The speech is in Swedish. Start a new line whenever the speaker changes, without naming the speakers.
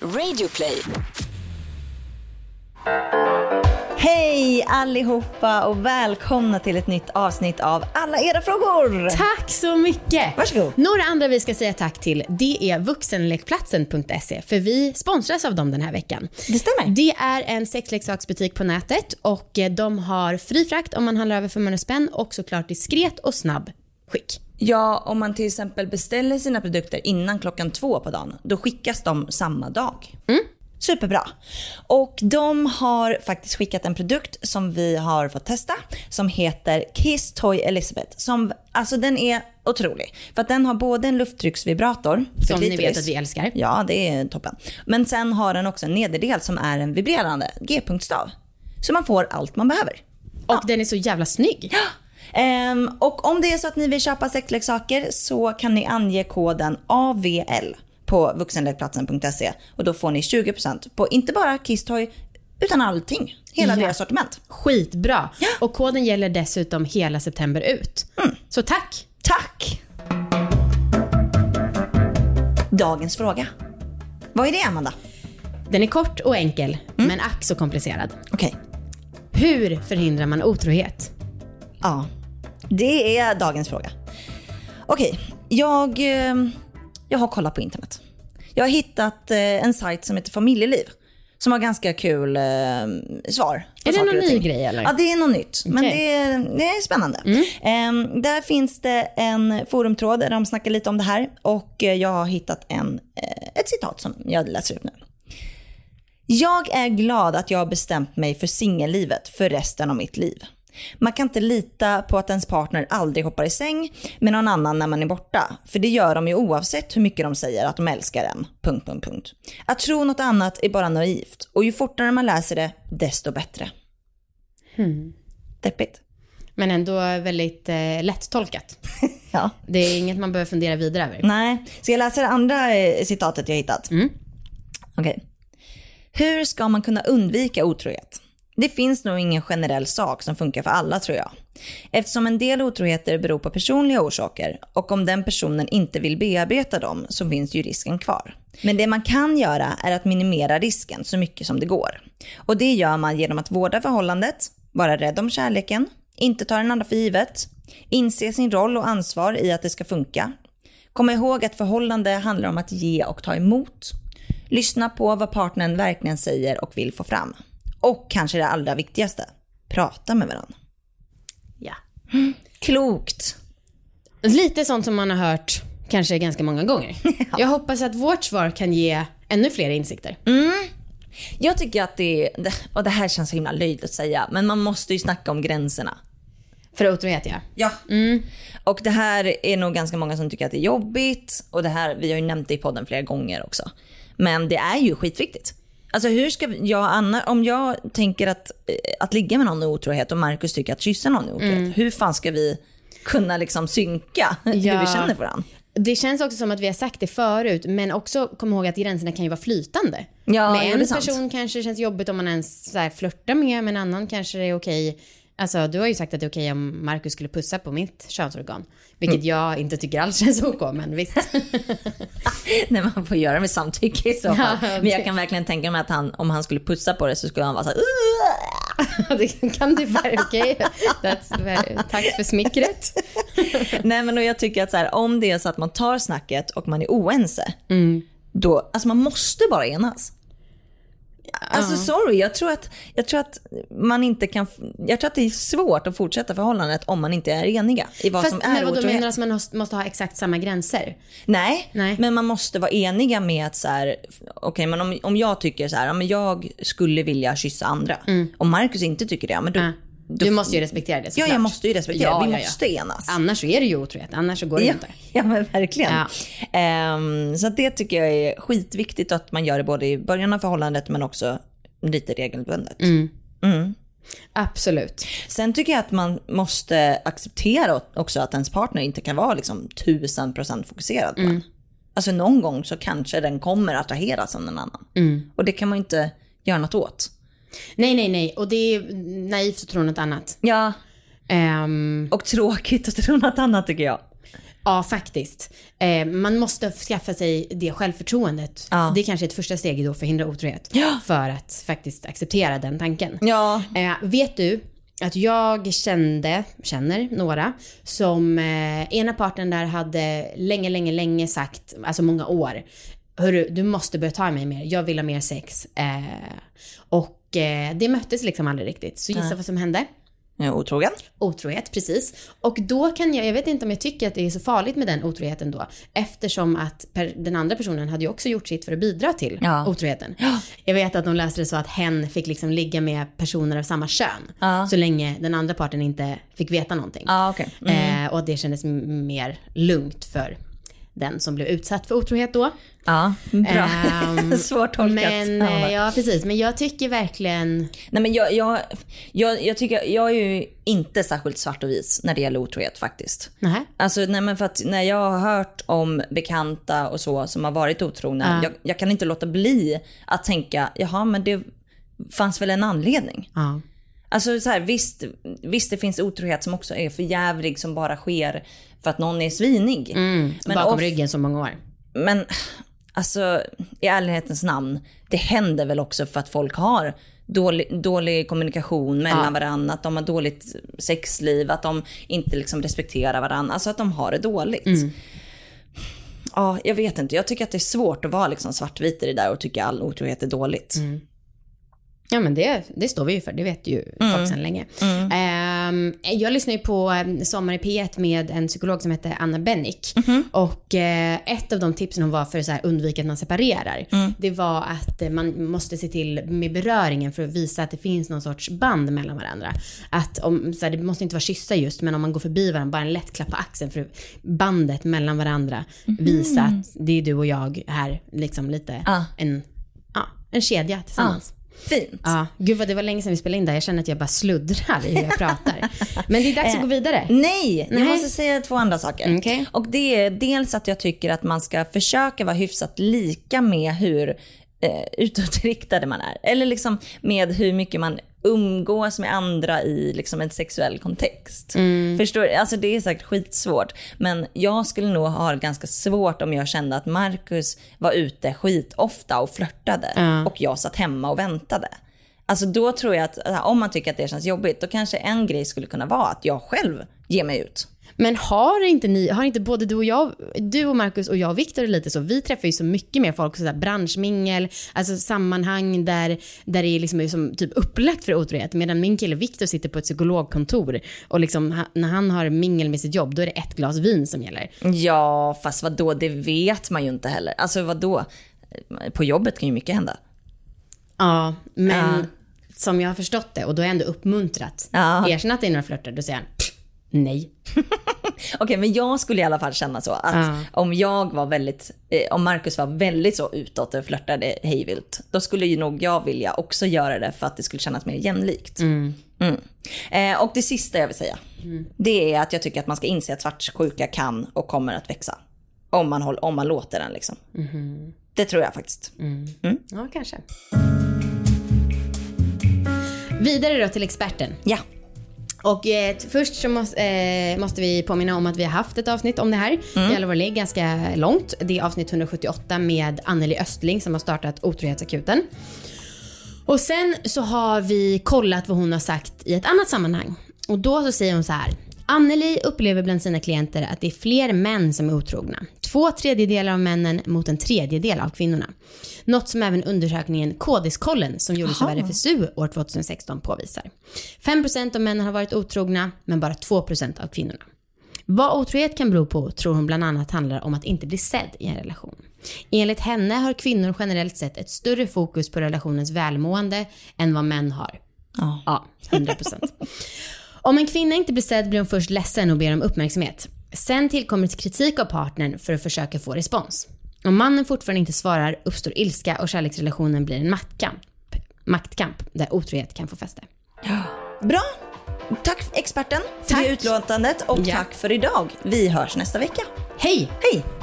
Radioplay.
Hej allihopa och välkomna till ett nytt avsnitt av Alla era frågor!
Tack så mycket!
Varsågod.
Några andra vi ska säga tack till det är vuxenlekplatsen.se för vi sponsras av dem den här veckan.
Det stämmer.
Det är en sexleksaksbutik på nätet och eh, de har fri frakt om man handlar över 500 spänn och såklart diskret och snabb skick.
Ja, om man till exempel beställer sina produkter innan klockan två på dagen, då skickas de samma dag.
Mm.
Superbra. Och de har faktiskt skickat en produkt som vi har fått testa som heter Kiss Toy Elizabeth. Som, alltså den är otrolig. För att den har både en lufttrycksvibrator för
Som ni
klitoris.
vet att vi älskar.
Ja, det är toppen. Men sen har den också en nederdel som är en vibrerande G-punktstav. Så man får allt man behöver.
Och den är så jävla snygg.
Ehm, och om det är så att ni vill köpa sexleksaker så kan ni ange koden AVL på vuxenlekplatsen.se E. och då får ni 20% på inte bara Kisstoy utan allting. Hela
Ja.
deras sortiment.
Skitbra. Och koden gäller dessutom hela september ut.
Mm.
Så tack!
Tack! Dagens fråga. Vad är det Amanda?
Den är kort och enkel,
Mm.
men ack så komplicerad.
Okej.
Hur förhindrar man otrohet?
Ja, det är dagens fråga. Okej, jag, eh, jag har kollat på internet. Jag har hittat eh, en sajt som heter Familjeliv som har ganska kul eh, svar. på
Är det
saker
någon
och
ny
ting.
grej, eller?
Ja, det är något nytt. Men
Okej.
det, är, det är spännande. Eh, där finns det en forumtråd där de snackar lite om det här och eh, jag har hittat en, eh, ett citat som jag läser upp nu. Jag är glad att jag har bestämt mig för singellivet för resten av mitt liv. Man kan inte lita på att ens partner aldrig hoppar i säng med någon annan när man är borta. För det gör de ju oavsett hur mycket de säger att de älskar en. Punkt, punkt, punkt. Att tro något annat är bara naivt. Och ju fortare man läser det, desto bättre. Hmm. Deppigt.
Men ändå väldigt eh, lättolkat.
Ja.
Det är inget man behöver fundera vidare över.
Nej, så jag läser det andra eh, citatet jag hittat.
Mm.
Okej. Hur ska man kunna undvika otrohet? Det finns nog ingen generell sak som funkar för alla tror jag. Eftersom en del otroheter beror på personliga orsaker och om den personen inte vill bearbeta dem så finns ju risken kvar. Men det man kan göra är att minimera risken så mycket som det går. Och det gör man genom att vårda förhållandet, vara rädd om kärleken, inte ta den andra för givet, inse sin roll och ansvar i att det ska funka, Kom ihåg att förhållande handlar om att ge och ta emot. Lyssna på vad partnern verkligen säger och vill få fram. Och kanske det allra viktigaste, prata med varandra.
Ja.
Klokt!
Lite sånt som man har hört kanske ganska många gånger. Jag hoppas att vårt svar kan ge ännu fler insikter.
Mm. Jag tycker att det är, och det här känns så himla löjligt att säga, men man måste ju snacka om gränserna.
För otrohet ja.
Ja. Mm. Och det här är nog ganska många som tycker att det är jobbigt och det här, vi har ju nämnt det i podden flera gånger också. Men det är ju skitviktigt. Alltså hur ska vi- jag anna, om jag tänker att, eh, att ligga med någon är otrohet och Markus tycker att kyssa någon är otrohet,
Mm.
hur fan ska vi kunna liksom synka hur vi
Ja.
känner för varandra?
Det känns också som att vi har sagt det förut, men också kom ihåg att gränserna kan ju vara flytande.
Ja,
med
jo,
en
det är sant.
person kanske det känns jobbigt om man ens så här flörtar med, men en annan kanske det är okej. Alltså du har ju sagt att det är okej om Markus skulle pussa på mitt könsorgan. Vilket
Mm.
jag inte tycker alls känns OK, men visst.
Nej man får göra det med samtycke i så fall.
Ja,
Men jag
det-
kan verkligen tänka mig att han, om han skulle pussa på det så skulle han vara såhär
det kan du vara okej. That's very- Tack för smickret.
Nej men och jag tycker att så här, om det är så att man tar snacket och man är oense,
Mm.
då, alltså man måste bara enas. Alltså sorry, jag tror, att, jag tror att man inte kan, jag tror att det är svårt att fortsätta förhållandet om man inte är eniga i vad som är
men vadå, menar
otrohet.
du att man måste- måste ha exakt samma gränser?
Nej,
Nej.
men man måste vara eniga med att så här, okej, men om, om jag tycker så här, ja, men jag skulle vilja kyssa andra, om Markus inte tycker det, ja, men då,
Mm. Ja. Ah. Du måste ju respektera det
ja
såklart.
jag måste ju respektera,
Ja,
vi
ja, ja.
måste enas.
Annars så är det ju otrohet, annars så går det ju
Ja,
inte.
ja men verkligen.
Ja.
Ehm, så att det tycker jag är skitviktigt att man gör det både i början av förhållandet men också lite regelbundet.
Mm. Absolut.
Sen tycker jag att man måste acceptera också att ens partner inte kan vara liksom tusen procent fokuserad på
Mm.
en. Alltså någon gång så kanske den kommer attraheras av någon annan.
Mm.
Och det kan man ju inte göra något åt.
Nej, nej, nej. Och det är naivt att tro något annat.
Ja,
Ehm,
och tråkigt att tro något annat tycker jag.
Ja, faktiskt. Eh, man måste skaffa sig det självförtroendet.
Ja.
Det kanske är ett första steg i då att förhindra otrohet. För att faktiskt acceptera den tanken.
Ja.
Eh, vet du att jag kände, känner några som eh, ena parten där hade länge, länge, länge sagt, alltså många år, Hörru, du måste börja ta i mig mer, jag vill ha mer sex. Eh, och eh, det möttes liksom aldrig riktigt. Så gissa vad som hände?
Jag är otrogen.
Otrohet, precis. Och då kan jag, jag vet inte om jag tycker att det är så farligt med den otroheten då, eftersom att per, den andra personen hade ju också gjort sitt för att bidra till
Ja.
otroheten. Jag vet att de läste det så att hen fick liksom ligga med personer av samma kön,
Ja.
så länge den andra parten inte fick veta någonting.
Ja, okej. Mm.
Eh, och att det kändes m- mer lugnt för den som blev utsatt för otrohet då.
Ja, bra.
Ehm,
Svårtolkat.
Men,
Ja,
eh,
bara.
ja, precis. Men jag tycker verkligen
Nej, men jag, jag, jag, jag, tycker, jag är ju inte särskilt svart och vit när det gäller otrohet faktiskt.
Nähä.
Alltså, nej, men för att när jag har hört om bekanta och så som har varit otrogna,
Ja.
jag, jag kan inte låta bli att tänka, jaha men det fanns väl en anledning.
Ja.
Alltså så här, visst, visst det finns otrohet som också är för jävlig som bara sker för att någon är svinig. Mm. men,
Mm, Bakom
of-
ryggen så många år.
men alltså i ärlighetens namn, det händer väl också för att folk har dålig, dålig kommunikation mellan
Ja.
varandra, att de har dåligt sexliv, att de inte liksom respekterar varandra, alltså att de har det dåligt.
Mm.
Ja, jag vet inte. Jag tycker att det är svårt att vara liksom svartvit i det där och tycka all otrohet är dåligt.
Mm. Ja men det, det står vi ju för, det vet ju folk sedan länge.
Mm.
Ehm, jag lyssnar ju på eh, Sommar i P1 med en psykolog som heter Anna Bennick.
Mm.
Och eh, ett av de tipsen hon var för att så här undvika att man separerar,
Mm.
det var att eh, man måste se till med beröringen för att visa att det finns någon sorts band mellan varandra. Att om, så här, det måste inte vara kyssar just, men om man går förbi varandra, bara en lätt klapp på axeln för att bandet mellan varandra visa att det är du och jag här, liksom lite
Ah.
en, ja, en kedja tillsammans.
Fint.
Ja, gud vad det var länge sedan vi spelade in där. Jag känner att jag bara sluddrar i hur jag pratar. Men det är dags att gå vidare.
Nej, jag
Nej.
måste säga två andra saker.
Mm, Okej.
Och det är dels att jag tycker att man ska försöka vara hyfsat lika med hur eh, utåtriktade man är. Eller liksom med hur mycket man umgås med andra i liksom en sexuell kontext.
Mm.
Förstår du? Alltså det är säkert skitsvårt. Men jag skulle nog ha ganska svårt om jag kände att Marcus var ute skitofta och flörtade
Ja.
och jag satt hemma och väntade. Alltså då tror jag att alltså, om man tycker att det känns jobbigt, då kanske en grej skulle kunna vara att jag själv ger mig ut.
Men har inte ni, har inte både du och jag, du och Marcus och jag och Viktor är lite så, vi träffar ju så mycket mer folk, sådär branschmingel, alltså sammanhang där, där det är liksom är som typ upplagt för otrohet. Medan min kille Viktor sitter på ett psykologkontor och liksom ha- när han har mingel med sitt jobb, då är det ett glas vin som gäller.
Ja, fast vad då? det vet man ju inte heller. Alltså vad då? På jobbet kan ju mycket hända.
Ja, men
Ja.
som jag har förstått det, och då är jag ändå uppmuntrat.
Ja.
Erkänn att det är några flörter, då säger han "Pff, nej.
Okej, men jag skulle i alla fall känna så att
Ja.
om jag var väldigt, eh, om Marcus var väldigt så utåt och flörtade hejvilt, då skulle ju nog jag vilja också göra det för att det skulle kännas mer jämlikt. Mm. Eh, och det sista jag vill säga, det är att jag tycker att man ska inse att svartsjuka kan och kommer att växa. Om man, håll, om man låter den liksom. Det tror jag faktiskt.
Ja, kanske. Vidare då till experten.
Ja.
Och eh, t- först så måste, eh, måste vi påminna om att vi har haft ett avsnitt om det här. Mm. Gällivare ligg ganska långt. Det är avsnitt 178 med Anneli Östling som har startat Otrohetsakuten. Och sen så har vi kollat vad hon har sagt i ett annat sammanhang. Och då så säger hon så här. Anneli upplever bland sina klienter att det är fler män som är otrogna. Två tredjedelar av männen mot en tredjedel av kvinnorna. Något som även undersökningen Kodiskollen som gjordes av RFSU år 2016 påvisar. 5% av männen har varit otrogna, men bara 2% av kvinnorna. Vad otrohet kan bero på tror hon bland annat handlar om att inte bli sedd i en relation. Enligt henne har kvinnor generellt sett ett större fokus på relationens välmående än vad män har.
Ja.
Ja, 100%. om en kvinna inte blir sedd blir hon först ledsen och ber om uppmärksamhet. Sen tillkommer kritik av partnern för att försöka få respons. Om mannen fortfarande inte svarar uppstår ilska och kärleksrelationen blir en maktkamp. Maktkamp där otrohet kan få fäste.
Bra! Tack experten för
Tack.
det utlåtandet och
Ja.
tack för idag. Vi hörs nästa vecka.
Hej!
Hej!